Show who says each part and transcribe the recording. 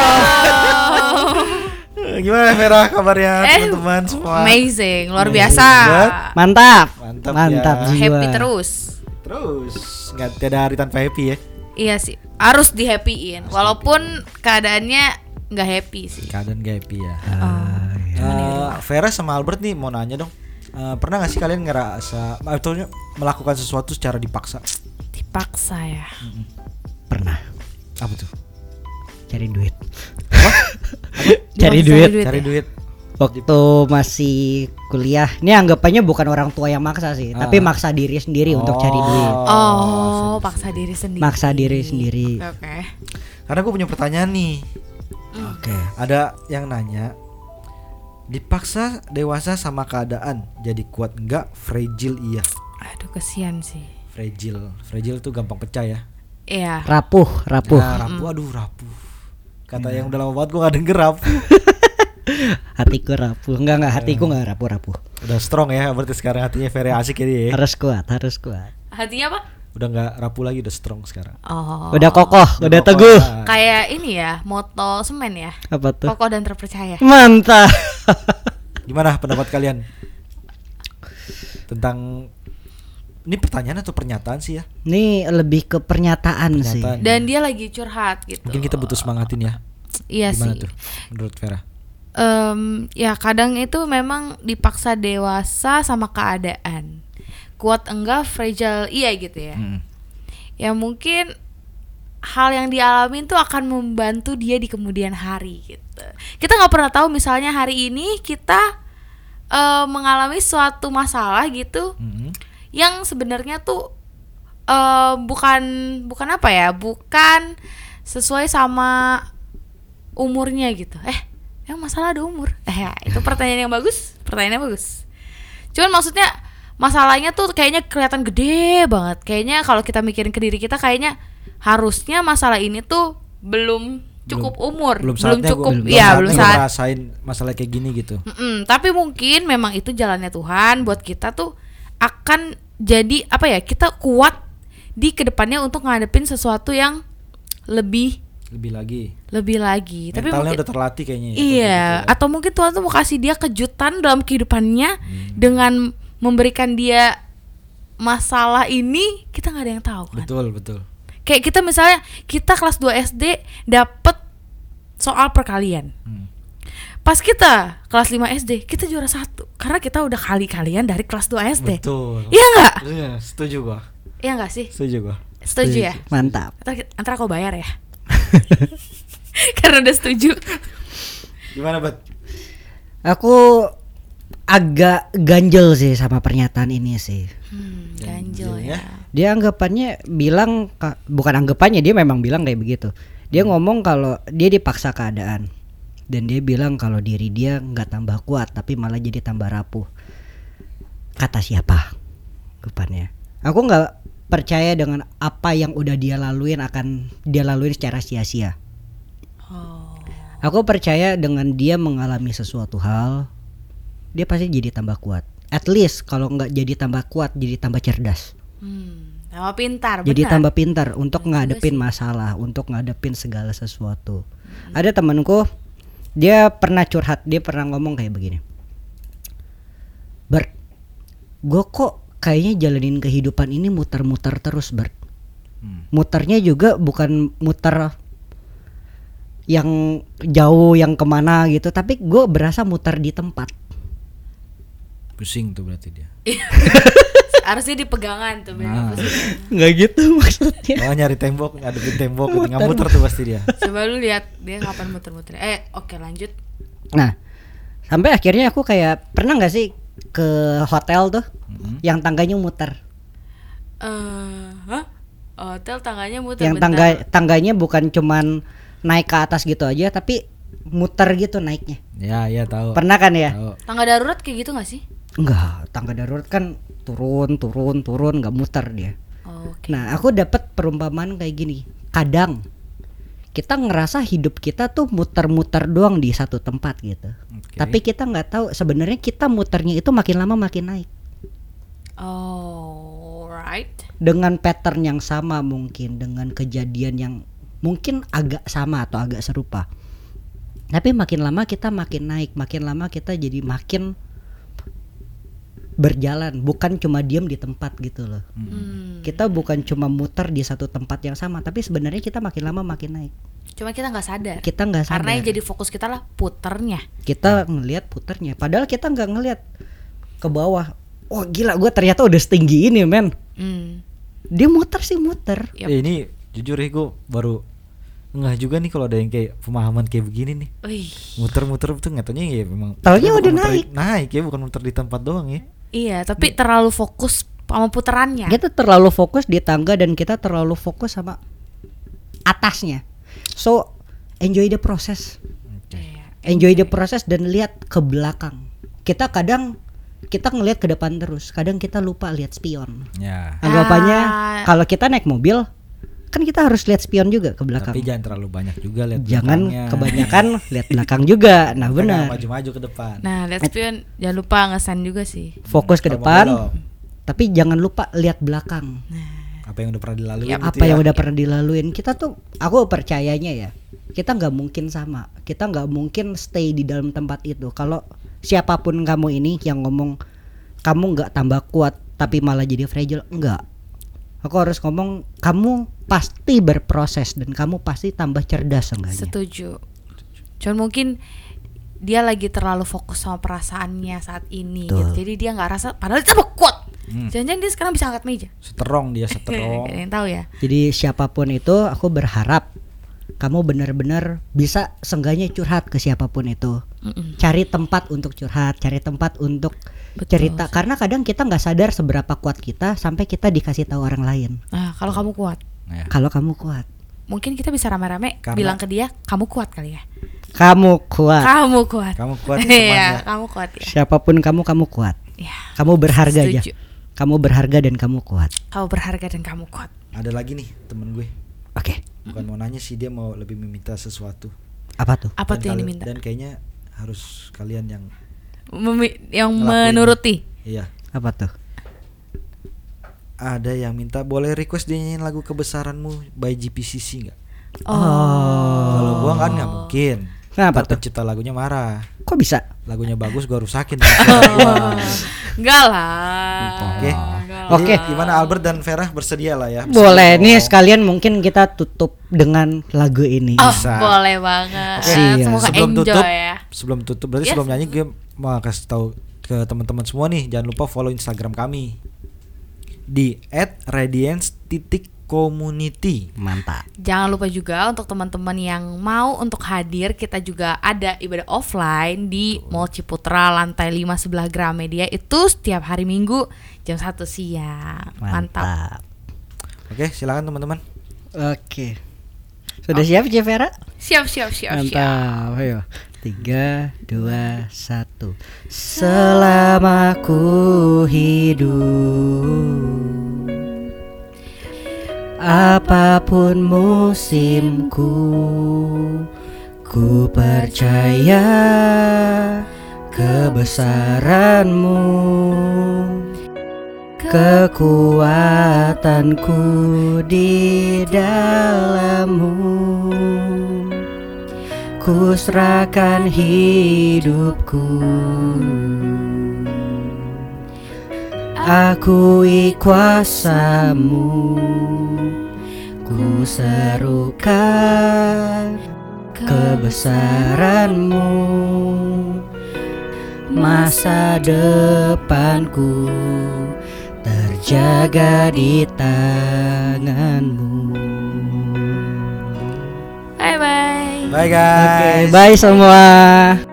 Speaker 1: Shalom.
Speaker 2: Eh, Gimana Vera kabarnya
Speaker 1: Eh,
Speaker 2: teman-teman semua?
Speaker 1: Amazing, luar
Speaker 2: Amazing
Speaker 1: biasa.
Speaker 2: banget.
Speaker 3: Mantap.
Speaker 2: Mantap ya.
Speaker 3: jiwa.
Speaker 1: Happy terus.
Speaker 2: Terus nggak tidak ada hari tanpa happy ya?
Speaker 1: Iya sih, harus di happyin walaupun keadaannya nggak happy sih.
Speaker 2: Keadaan gak happy ya.
Speaker 1: Oh.
Speaker 2: Eh, Vera sama Albert nih mau nanya dong. Eh, pernah gak sih kalian ngerasa atau melakukan sesuatu secara dipaksa?
Speaker 1: Dipaksa ya.
Speaker 3: Pernah
Speaker 2: Apa tuh?
Speaker 3: cari duit. Cari
Speaker 1: Dipaksa
Speaker 3: duit.
Speaker 2: Cari
Speaker 1: ya?
Speaker 2: duit.
Speaker 3: Waktu masih kuliah, ini anggapannya bukan orang tua yang maksa sih, tapi
Speaker 2: Ah.
Speaker 3: maksa diri sendiri untuk cari duit.
Speaker 1: Oh, paksa diri sendiri.
Speaker 3: Maksa diri sendiri.
Speaker 1: Oke.
Speaker 2: Karena gue punya pertanyaan nih.
Speaker 3: Oke.
Speaker 2: Ada yang nanya dipaksa dewasa sama keadaan jadi kuat nggak fragile iya
Speaker 1: Aduh kesian sih.
Speaker 2: fragile fragile tuh gampang pecah ya
Speaker 1: Iya.
Speaker 3: Rapuh, rapuh.
Speaker 2: Nah, rapuh
Speaker 1: Mm.
Speaker 2: aduh rapuh kata
Speaker 1: Iya.
Speaker 2: yang udah lama banget gue gak denger rapuh
Speaker 3: Hatiku rapuh. Enggak enggak, hatiku enggak rapuh-rapuh.
Speaker 2: udah strong ya berarti sekarang hatinya Ferry asik ini ya
Speaker 3: Harus kuat, harus kuat.
Speaker 1: Hatinya apa?
Speaker 2: udah nggak rapuh lagi udah strong sekarang Nah,
Speaker 1: Oh.
Speaker 3: Udah kokoh, udah
Speaker 2: Udah
Speaker 3: teguh.
Speaker 2: kokoh.
Speaker 1: Kayak ini ya, moto semen ya.
Speaker 3: Apa tuh?
Speaker 1: Kokoh dan
Speaker 2: Iya.
Speaker 1: terpercaya.
Speaker 3: Mantap.
Speaker 2: gimana pendapat kalian tentang ini pertanyaan atau pernyataan sih ya
Speaker 3: Ini lebih ke pernyataan, sih.
Speaker 2: Pernyataan.
Speaker 1: Dan dia lagi curhat gitu.
Speaker 2: mungkin kita butuh semangatin ya
Speaker 1: Iya
Speaker 2: gimana
Speaker 1: sih.
Speaker 2: tuh menurut Vera
Speaker 1: Em, ya kadang itu memang dipaksa dewasa sama keadaan. Kuat enggak, fragile iya gitu ya.
Speaker 2: Mm.
Speaker 1: ya mungkin hal yang dialami itu akan membantu dia di kemudian hari gitu kita nggak pernah tahu misalnya hari ini kita eh, mengalami suatu masalah gitu
Speaker 2: Mm.
Speaker 1: yang sebenarnya tuh eh, bukan bukan apa ya bukan sesuai sama umurnya gitu eh emang masalah ada umur eh ya, itu pertanyaan yang bagus pertanyaan yang bagus cuman maksudnya masalahnya tuh kayaknya kelihatan gede banget kayaknya kalau kita mikirin ke diri kita kayaknya harusnya masalah ini tuh belum cukup
Speaker 2: Belum-
Speaker 1: umur
Speaker 2: belum saatnya gua,
Speaker 1: cukup ya belum
Speaker 2: saatnya gua
Speaker 1: saat
Speaker 2: ngerasain masalah kayak gini gitu
Speaker 1: Mm-mm, tapi mungkin memang itu jalannya Tuhan buat kita tuh akan jadi apa ya kita kuat di kedepannya untuk ngadepin sesuatu yang lebih
Speaker 2: lebih lagi
Speaker 1: lebih lagi. Iya, tapi
Speaker 2: mentalnya
Speaker 1: mungkin
Speaker 2: udah terlatih kayaknya ya, kalau
Speaker 1: iya
Speaker 2: kayak gitu ya.
Speaker 1: atau mungkin Tuhan tuh mau kasih dia kejutan dalam kehidupannya
Speaker 2: Hmm.
Speaker 1: dengan memberikan dia masalah ini kita nggak ada yang tahu kan.
Speaker 2: betul betul
Speaker 1: Kayak kita misalnya kita kelas 2 SD dapet soal perkalian
Speaker 2: Hmm.
Speaker 1: pas kita kelas 5 SD kita juara satu karena kita udah kali kalian dari kelas 2 SD
Speaker 2: betul
Speaker 1: iya nggak
Speaker 2: Iya, setuju gua
Speaker 1: iya nggak sih
Speaker 2: setuju gua
Speaker 1: setuju ya
Speaker 3: Mantap.
Speaker 1: Ntar ki- antara aku bayar ya karena udah setuju
Speaker 2: gimana bet
Speaker 3: Aku agak ganjel sih sama pernyataan ini sih.
Speaker 1: hmm, ganjel
Speaker 2: Ganjel ya.
Speaker 1: ya
Speaker 3: Dia anggapannya bilang ka- bukan anggapannya dia memang bilang kayak begitu. Dia ngomong kalau dia dipaksa keadaan dan dia bilang kalau diri dia nggak tambah kuat tapi malah jadi tambah rapuh. Kata siapa? Anggapannya. Aku nggak percaya dengan apa yang udah dia laluin akan dia laluin secara sia-sia.
Speaker 1: oh
Speaker 3: Aku percaya dengan dia mengalami sesuatu hal, dia pasti jadi tambah kuat. At least kalau nggak jadi tambah kuat, jadi tambah cerdas,
Speaker 1: hmm, tambah pintar
Speaker 3: jadi
Speaker 1: benar.
Speaker 3: tambah pintar untuk
Speaker 1: Benar juga
Speaker 3: ngadepin
Speaker 1: sih. Hmm.
Speaker 3: masalah, untuk ngadepin segala sesuatu. Ada temanku, dia pernah curhat, dia pernah ngomong kayak begini. Bert, gue kok kayaknya jalanin kehidupan ini muter-muter terus, Bert.
Speaker 2: Hmm.
Speaker 3: Muternya juga bukan muter yang jauh, yang kemana gitu, tapi gue berasa muter di tempat.
Speaker 2: pusing tuh berarti dia
Speaker 1: harusnya dipegangan tuh
Speaker 2: Nah.
Speaker 1: benar.
Speaker 3: Nggak gitu maksudnya.
Speaker 2: Oh nyari tembok, ngadepin tembok, nggak muter tuh pasti dia.
Speaker 1: coba lu lihat dia kapan muter-muter eh oke lanjut
Speaker 3: Nah, sampai akhirnya aku kayak pernah nggak sih ke hotel tuh yang tangganya muter,
Speaker 1: eh hah? hotel tangganya muter
Speaker 3: yang tangga
Speaker 1: bentar.
Speaker 3: tangganya bukan cuman naik ke atas gitu aja, tapi muter gitu naiknya.
Speaker 2: Ya, ya tahu.
Speaker 3: Pernah kan ya?
Speaker 2: Tahu.
Speaker 1: tangga darurat kayak gitu nggak sih
Speaker 3: Enggak, tangga darurat kan turun, turun, turun, nggak muter dia.
Speaker 1: oh, oke
Speaker 3: Nah, aku dapat perumpamaan kayak gini. Kadang kita ngerasa hidup kita tuh muter-muter doang di satu tempat gitu.
Speaker 2: Oke.
Speaker 3: Tapi kita nggak tahu sebenarnya kita muternya itu makin lama makin naik
Speaker 1: oh right Oh,
Speaker 3: dengan pattern yang sama mungkin dengan kejadian yang mungkin agak sama atau agak serupa tapi makin lama kita makin naik makin lama kita jadi makin berjalan bukan cuma diam di tempat gitu loh
Speaker 1: Hmm.
Speaker 3: kita bukan cuma muter di satu tempat yang sama tapi sebenarnya kita makin lama makin naik
Speaker 1: Cuma kita nggak sadar.
Speaker 3: kita nggak sadar
Speaker 1: Karena yang jadi fokus kita lah puternya.
Speaker 3: kita ngelihat puternya padahal kita nggak ngelihat ke bawah wah gila gue ternyata udah setinggi ini men
Speaker 1: Hmm.
Speaker 3: dia muter sih muter
Speaker 1: Yep.
Speaker 2: Eh, ini jujur ya gue baru ngeh juga nih kalau ada yang kayak pemahaman kayak begini nih
Speaker 1: Wih,
Speaker 2: muter-muter tuh nggak taunya ya memang
Speaker 3: Taunya
Speaker 2: bukan
Speaker 3: udah
Speaker 2: muter-
Speaker 3: naik.
Speaker 2: naik ya bukan muter di tempat doang ya
Speaker 1: iya, tapi terlalu fokus sama puterannya.
Speaker 3: kita terlalu fokus di tangga dan kita terlalu fokus sama atasnya so enjoy the process
Speaker 1: Iya.
Speaker 3: enjoy the process dan lihat ke belakang kita kadang kita ngelihat ke depan terus kadang kita lupa lihat spion
Speaker 2: ya
Speaker 3: anggapannya
Speaker 1: Ah.
Speaker 3: kalau kita naik mobil kan kita harus lihat spion juga ke belakang
Speaker 2: tapi jangan terlalu banyak juga lihat
Speaker 3: jangan
Speaker 2: belakangnya.
Speaker 3: kebanyakan lihat belakang juga nah
Speaker 2: Jangan
Speaker 3: benar
Speaker 2: maju-maju ke depan
Speaker 1: Nah, let's pion jangan lupa ngesan juga sih.
Speaker 3: fokus ke
Speaker 2: Kalau mau
Speaker 3: depan
Speaker 2: belok,
Speaker 3: tapi jangan lupa lihat belakang
Speaker 1: Nah,
Speaker 2: apa yang ya, udah pernah dilalui
Speaker 1: Yap.
Speaker 3: apa yang udah pernah dilaluin kita tuh aku percayanya ya kita nggak mungkin sama kita nggak mungkin stay di dalam tempat itu kalau siapapun kamu ini yang ngomong kamu nggak tambah kuat tapi malah jadi fragile enggak aku harus ngomong kamu pasti berproses dan kamu pasti tambah cerdas enggaknya
Speaker 1: Setuju. Cuman mungkin dia lagi terlalu fokus sama perasaannya saat ini gitu.
Speaker 3: Betul.
Speaker 1: Jadi dia nggak rasa padahal itu mah kuat.
Speaker 2: Hmm.
Speaker 1: Jangan-jangan dia sekarang bisa angkat meja.
Speaker 2: seterong dia seterong
Speaker 1: Gak ada yang tahu ya.
Speaker 3: jadi siapapun itu aku berharap kamu benar-benar bisa sengganya curhat ke siapapun itu
Speaker 1: Mm-mm.
Speaker 3: cari tempat untuk curhat, cari tempat untuk
Speaker 1: Betul.
Speaker 3: cerita. Karena kadang kita nggak sadar seberapa kuat kita sampai kita dikasih tahu orang lain.
Speaker 1: Nah, kalau kamu kuat,
Speaker 2: Nah,
Speaker 3: Kalau kamu kuat,
Speaker 1: mungkin kita bisa rame-rame
Speaker 2: Karena-
Speaker 1: bilang ke dia, kamu kuat kali ya.
Speaker 3: kamu kuat.
Speaker 1: Kamu kuat.
Speaker 2: Ah. kamu kuat
Speaker 1: Iya,
Speaker 2: temannya
Speaker 1: kamu kuat ya.
Speaker 3: Siapapun kamu, kamu kuat.
Speaker 1: Iya.
Speaker 3: Kamu berharga aja.
Speaker 1: Setuju.
Speaker 3: Kamu berharga dan kamu kuat.
Speaker 1: Kamu berharga dan kamu kuat.
Speaker 2: ada lagi nih temen gue
Speaker 3: Oke,
Speaker 2: bukan mau nanya sih dia mau lebih meminta sesuatu
Speaker 3: apa tuh?
Speaker 1: Apa
Speaker 2: Dan
Speaker 1: tuh yang
Speaker 2: kali-
Speaker 1: diminta?
Speaker 2: dan kayaknya harus kalian yang
Speaker 1: Memi- yang
Speaker 2: Ngelakuin.
Speaker 1: menuruti.
Speaker 2: iya
Speaker 3: Apa tuh?
Speaker 2: ada yang minta boleh request dia nyanyiin lagu kebesaranmu by GPCC nggak
Speaker 1: Oh.
Speaker 2: kalau gua kan nggak mungkin Ntar
Speaker 3: Kenapa Nah, tuh?
Speaker 2: pencipta lagunya marah
Speaker 3: Kok bisa?
Speaker 2: lagunya bagus gua rusakin
Speaker 1: Oh.
Speaker 2: Oh.
Speaker 1: Enggak lah.
Speaker 2: oke
Speaker 1: Enggak lah.
Speaker 3: Oke.
Speaker 2: Jadi, gimana Albert dan Vera bersedia lah ya
Speaker 3: Boleh
Speaker 2: Bersedia.
Speaker 3: nih sekalian mungkin kita tutup dengan lagu ini.
Speaker 1: Oh,
Speaker 2: Bisa.
Speaker 1: boleh banget.
Speaker 3: Oke. Iya.
Speaker 1: Semoga
Speaker 2: sebelum
Speaker 1: enjoy
Speaker 2: tutup
Speaker 1: ya.
Speaker 2: sebelum tutup berarti
Speaker 1: Yes.
Speaker 2: sebelum nyanyi gue mau kasih tahu ke teman-teman semua nih jangan lupa follow instagram kami di @radiance titik community
Speaker 3: Mantap.
Speaker 1: Jangan lupa juga untuk teman-teman yang mau untuk hadir kita juga ada ibadah offline di Mall Ciputra lantai 5 sebelah Gramedia itu setiap hari Minggu jam 1 siang. Mantap.
Speaker 3: Mantap.
Speaker 2: oke silakan teman-teman
Speaker 3: Oke. Sudah siap Jevera?
Speaker 1: Siap siap siap siap.
Speaker 3: Mantap, ayo. Tiga, dua, satu. Selama ku hidup, apapun musimku, ku percaya kebesaranmu, kekuatanku di dalammu. Ku serahkan hidupku Aku kuasamu Ku serukan kebesaranmu Masa depanku terjaga di tanganmu
Speaker 1: Bye bye.
Speaker 2: bye
Speaker 3: Oke,
Speaker 2: guys
Speaker 3: bye semua.